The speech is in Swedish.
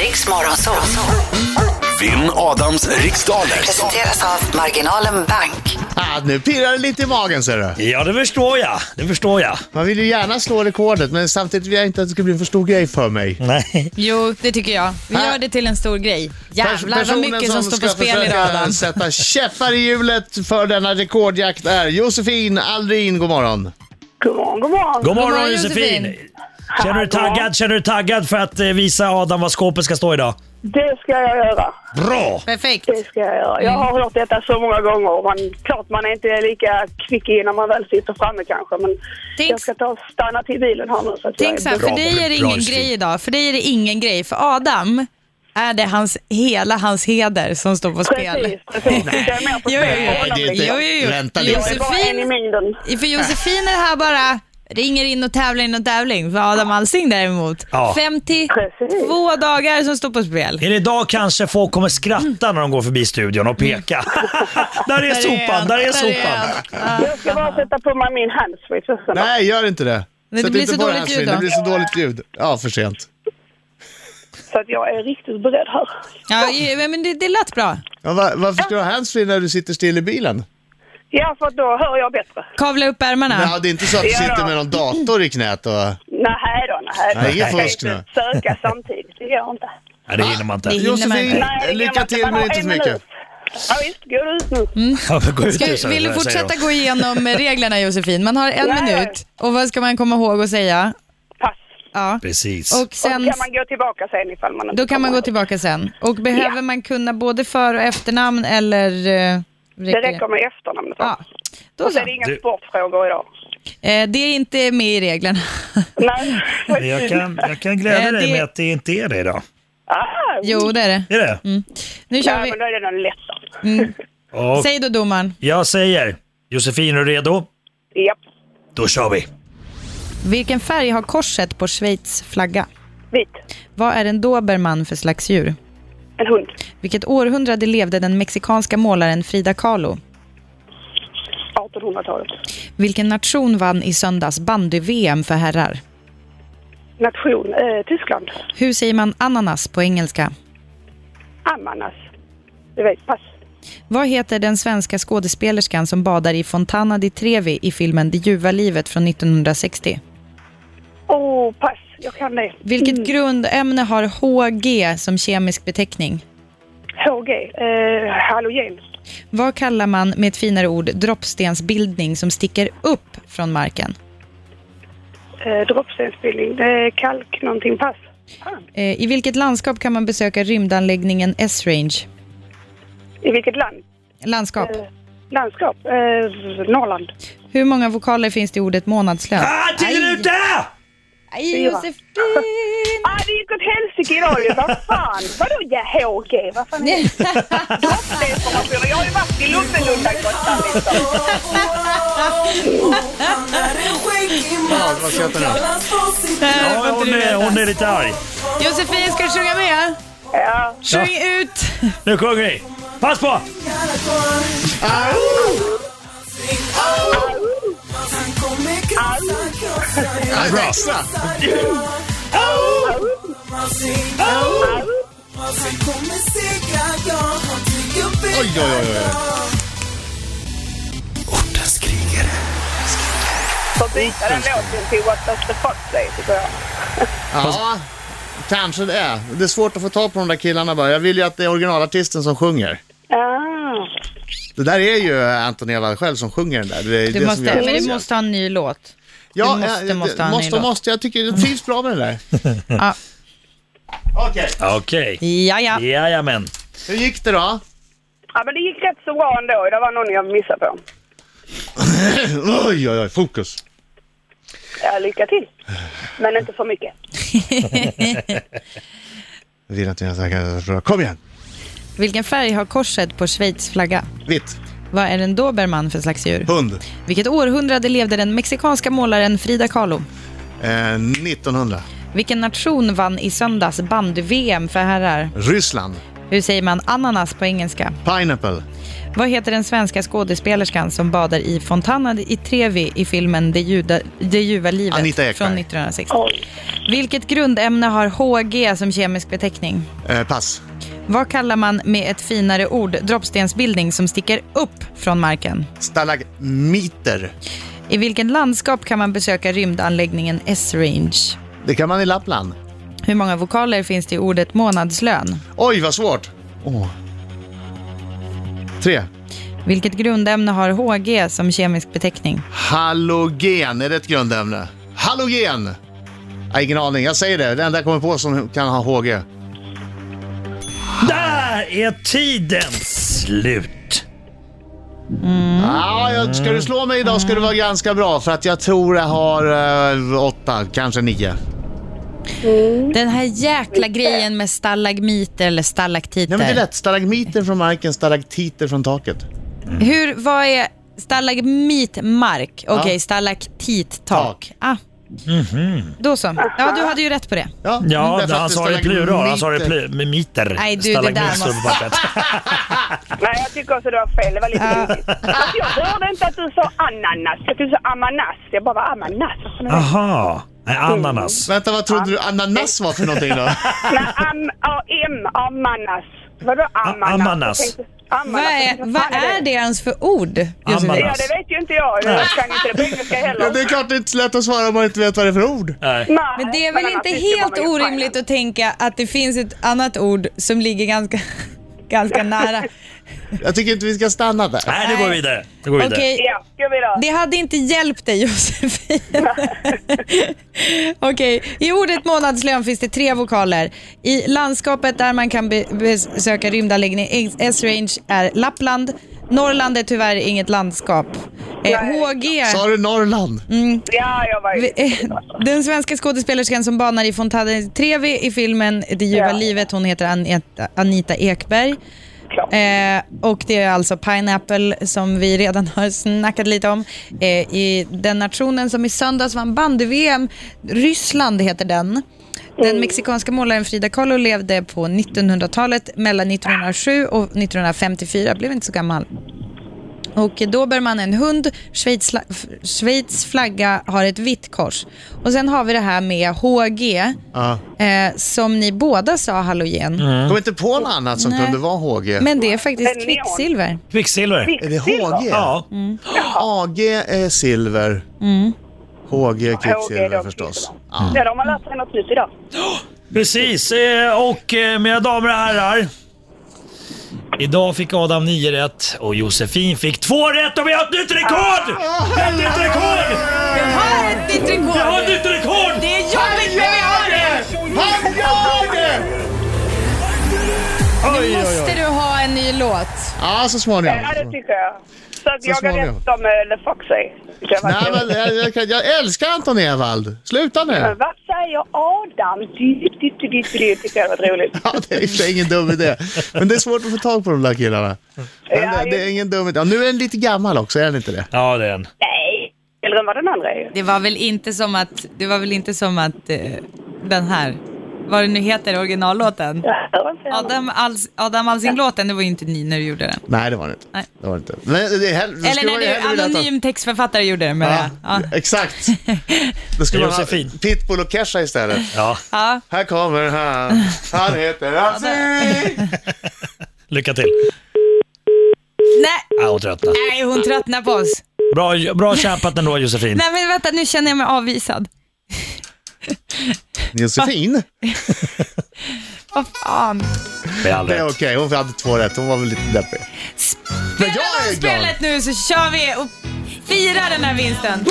Riks Morgonzoo. Vinn Adams riksdaler. Presenteras av Marginalen Bank. Ah, nu pirrar det lite i magen ser du. Ja, det förstår jag. Det förstår jag. Man vill ju gärna slå rekordet men samtidigt vill jag inte att det ska bli en för stor grej för mig. Nej. Jo, det tycker jag. Vi Här. gör det till en stor grej. Jävlar vad Personen mycket som, står på ska spel försöka idag Adam. sätta käppar i hjulet för denna rekordjakt är Josefin Aldrin. God morgon. God morgon, god morgon. God morgon, God morgon, Josefin. Josefin. Känner du taggad? Känner du taggad för att eh, visa Adam vad skåpet ska stå idag? Det ska jag göra. Bra! Perfekt. Det ska jag göra. Jag har hört detta så många gånger. och Man, klart man är inte är lika kvick i när man väl sitter framme kanske. Men Tänk- jag ska ta och stanna till bilen här nu. Så att Tänk så jag här, är för dig är det bra ingen Josefin. grej idag. För dig är det ingen grej. För Adam är det hans, hela hans heder som står på spel. Precis, precis. Jag är med på Jo, jo, jo. spel. det är inte- Jo, jo, jo. Vänta lite. Jag är bara en i Josefin, mängden. för Josefin är det här bara ringer in och tävlar in och tävling. För Adam Alsing däremot, Ja. 52 dagar som står på spel. Är det idag kanske folk kommer skratta när de går förbi studion och peka? där är sopan, där är sopan. Jag ska bara sätta på mig min handsfree. så sen. Nej, gör inte det. Men det Sätt blir inte så på dåligt handsfree, ljud Det då. blir så dåligt ljud. Ja, för sent. Så att jag är riktigt beredd här. Ja, ju- men det, det lät bra. Ja, va, varför ska du ha handsfree när du sitter still i bilen? Ja, för då hör jag bättre. Kavla upp ärmarna. Ja, det är inte så att du Ja, sitter då. med någon dator i knät och... Nej då, nej. då. Nej, ingen Jag kan fusk inte nu. Söka samtidigt, det gör jag inte. Nej, det hinner man inte. Nej. hinner man Josefin, inte. Nej, det gör lycka man till Man men har inte en så mycket. minut. Ja, visst, går ut nu. Mm. Ja, men gå ut nu, Ska, Typ så- vill du säger fortsätta de. gå igenom eh, reglerna Josefin? Man har en Nej. minut och vad ska man komma ihåg att säga? Pass. Ja. Precis. Och sen, Och kan man gå tillbaka sen ifall man inte då kan man gå kommer. tillbaka sen. Och behöver Ja. man kunna både för och efternamn eller? eh, Det räcker med efternamnet Ja. också. Då Och så så. är det inga Du- sportfrågor idag. Eh, det är inte med i reglerna. Nej. Men Jag kan, jag kan glädja Eh, dig det- med att det inte är det idag. Ah, Jo, det är det. Är det? Nu kör Nej, vi. Mm. men då är det någon lättare. Och Säg då domaren. jag säger, Josefin är du redo? Japp. Då kör vi. Vilken färg har korset på Schweiz flagga? Vit. Vad är en dobermann för slags djur? En hund. Vilket århundrade levde den mexikanska målaren Frida Kahlo? 1800-talet. Vilken nation vann i söndags bandy-VM för herrar? Nation. Eh, Tyskland. Hur säger man ananas på engelska? Amanas. Det vet, pass. Vad heter den svenska skådespelerskan som badar i Fontana di Trevi i filmen Det ljuva livet från 1960? Åh, oh, pass. Jag kan det. Mm. Vilket grundämne har HG som kemisk beteckning? HG. Eh, halogen. Vad kallar man med ett finare ord droppstensbildning som sticker upp från marken? Eh, Droppstensbildning. Eh, kalk. Någonting. Pass. Ah. Fan. Eh, I vilket landskap kan man besöka rymdanläggningen S-Range? I vilket land? Landskap. Eh, landskap? Eh, Norrland. Hur många vokaler finns det i ordet månadslön? Ah, tiden är ute! Aj, Josefin! Ah, det gick åt helsike idag ju. Vad fan? Vadå ja, HG? Vad fan är det? Droppinformation. Jag har ju varit i Lummelunda Gotland. liksom. Ja, vad ska jag ta nu? Ja, hon, är, hon är lite arg. Josefin, ska du sjunga med? Ja. Sjung ut! Nu sjunger vi. Pass på! Nej, bra. Extra. Mm. Oj, oj, oj, oj. Ortens krigare. Får byta den låten till What does the fuck say, tycker jag. Ja, kanske det är. Det är svårt att få tag på de där killarna bara. Jag vill ju att det är originalartisten som sjunger. Ah. Det där är ju Antonella själv som sjunger den där. Det är Du det måste, som gör det men du speciellt. måste ha en ny låt. ja, du måste, eh, måste ha en ny måste, låt. måste. Jag tycker det trivs bra med den där. Ja. Okej, Okej. Ja, ja. Jajamän. hur gick det då? Ja, men det gick rätt så bra ändå. Det var någon jag missade på. Oj, oj, oj, fokus. Ja, lycka till. Men inte för mycket. Jag vill inte jag snackar. Kom igen. Vilken färg har korset på Schweiz flagga? Vitt. Vad är en dobermann för slags djur? Hund. Vilket århundrade levde den mexikanska målaren Frida Kahlo? Eh, 1900. Vilken nation vann i söndags bandy-VM för herrar? Ryssland. Hur säger man ananas på engelska? Pineapple. Vad heter den svenska skådespelerskan som badar i Fontana i Trevi i filmen Det, juda, det ljuva livet Anita Ekberg. från 1960? Oj. Vilket grundämne har HG som kemisk beteckning? Eh, pass. Vad kallar man med ett finare ord droppstensbildning som sticker upp från marken? Stalagmiter. I vilket landskap kan man besöka rymdanläggningen S-Range? Det kan man i Lappland. Hur många vokaler finns det i ordet månadslön? Oj, vad svårt. Åh. Tre. Vilket grundämne har HG som kemisk beteckning? Halogen, är det ett grundämne? Halogen! Nej, ingen aning. Jag säger det. Det enda jag kommer på som kan ha HG. Där är tiden slut. Ah, jag, ska du slå mig idag ska du vara ganska bra för att jag tror jag har eh, åtta, kanske nio. Den här jäkla grejen med stalagmiter eller stalaktiter. Nej men det är lätt. Stalagmiter från marken, stalaktiter från taket. Hur, vad är stalagmitmark? Okej, Ja. stalaktittak. Tak. Mhm. Ah. Då så. Ja, du hade ju rätt på Mm, det. Ja, Ja, Mm, därför att han det är sa det i plural. Han sa det i stalagmiter. plu- med miter. Nej, du, det där Stalagmit måste- står på pappret. Nej, jag tycker också det var fel. Det var lite roligt. Alltså, jag hörde inte att du sa ananas. Jag tyckte du sa ananas. Jag bara, vad ananas? Vad fan är det? Aha. Nej, Mm. ananas. Vänta, vad trodde du ananas var för någonting då? Nej, am, a, m, amanas. Vadå amanas? A- amanas. Jag tänkte- amanas. Vad Jag är, tänkte, vad fan är det ens för ord? Josefin? Ja, det vet ju inte jag. Jag kan inte det på engelska heller. ja, det är klart det är inte så lätt att svara om man inte vet vad det är för ord. Nej. Nej, Men det är väl men inte annars visste man helt ju fine. orimligt att tänka att det finns ett annat ord som ligger ganska, ganska nära. Jag tycker inte vi ska stanna där. Nej, nu går vi vidare. Nu går vi vidare. Okej, Ja, ska vi då? det hade inte hjälpt dig Josefin. Okej, i ordet månadslön finns det tre vokaler. I landskapet där man kan be- besöka rymdanläggning S-Range är Lappland. Norrland är tyvärr inget landskap. Eh, HG... Sa du Norrland? Mm. Ja, jag var ju... Eh, Den svenska skådespelerskan som banar i Fontana di Trevi i filmen Det ljuva Ja. livet, hon heter Anita, Anita Ekberg. Klart. Eh, och det är alltså Pineapple som vi redan har snackat lite om. Eh, I den nationen som i söndags vann bandy-VM, Ryssland heter den. Den mexikanska målaren Frida Kahlo levde på 1900-talet mellan 1907 och 1954, blev inte så gammal. Och då bär man en hund, Schweiz, Schweiz flagga har ett vitt kors. Och sen har vi det här med HG, Ja. eh, som ni båda sa halogen. Kom inte på något annat som Nej. kunde vara HG. Men det är faktiskt Men neon. kvicksilver. Kvicksilver. Är det HG? Ja. AG är silver. Mm. HG HG kvicksilver då, förstås. kvicksilver. Ja. Ja, de har lärt sig något nytt idag. Precis, eh, och eh, mina damer och herrar. Idag fick Adam 9 rätt och Josefin fick 2 rätt och vi har ett nytt rekord! Vi har ett nytt rekord! Har ett nytt Vi har ett rekord! nytt rekord! Det är jobbigt när vi har det! Han gör det! Nu måste du ha en ny låt. Ja, så småningom. Ja, det tycker jag. Så att jag har småningom. rätt om uh, Le Foxy. Det var Nej, kul. men eh, jag, jag, kan- jag älskar Anton Ewald. Sluta Men nu. vad säger Adam? Du, du, du, du, du, tycker jag var roligt. Ja, det är i och för sig ingen dum idé. Men det är svårt att få tag på de där killarna. Men Ja, det, det är ingen dum idé. Ja, nu är den lite gammal också, är den inte det? Ja, det är en. Nej, eller än vad den andra är ju. Det var väl inte som att, det var väl inte som att eh, den här, vad det nu heter, originallåten. Jag hör inte henne. Adam, Alls, Adam Alsing-låten, det var ju inte ni när du gjorde den. Nej, det var den inte. Nej. Det var den inte. Men eh, det är hell- det Eller skulle när man ju du, hellre vilja att han- anonym textförfattare gjorde den menar Ja, jag. Ja. exakt. Då skulle man ha Josefin. Pitbull och Kesha istället. Ja, Ja. Här kommer han. Han heter Alltså, Alsing. lycka till. Nej, Ja, hon tröttnade. nej, hon tröttnar på oss. Äh, Bra, bra kämpat ändå Josefin. Nej men vänta, nu känner jag mig avvisad. Josefin? Vad fan. Med all Det är rätt. okej, hon hade två rätt. Hon var väl lite deppig. Spela jag är av spelet nu så kör vi och firar den här vinsten.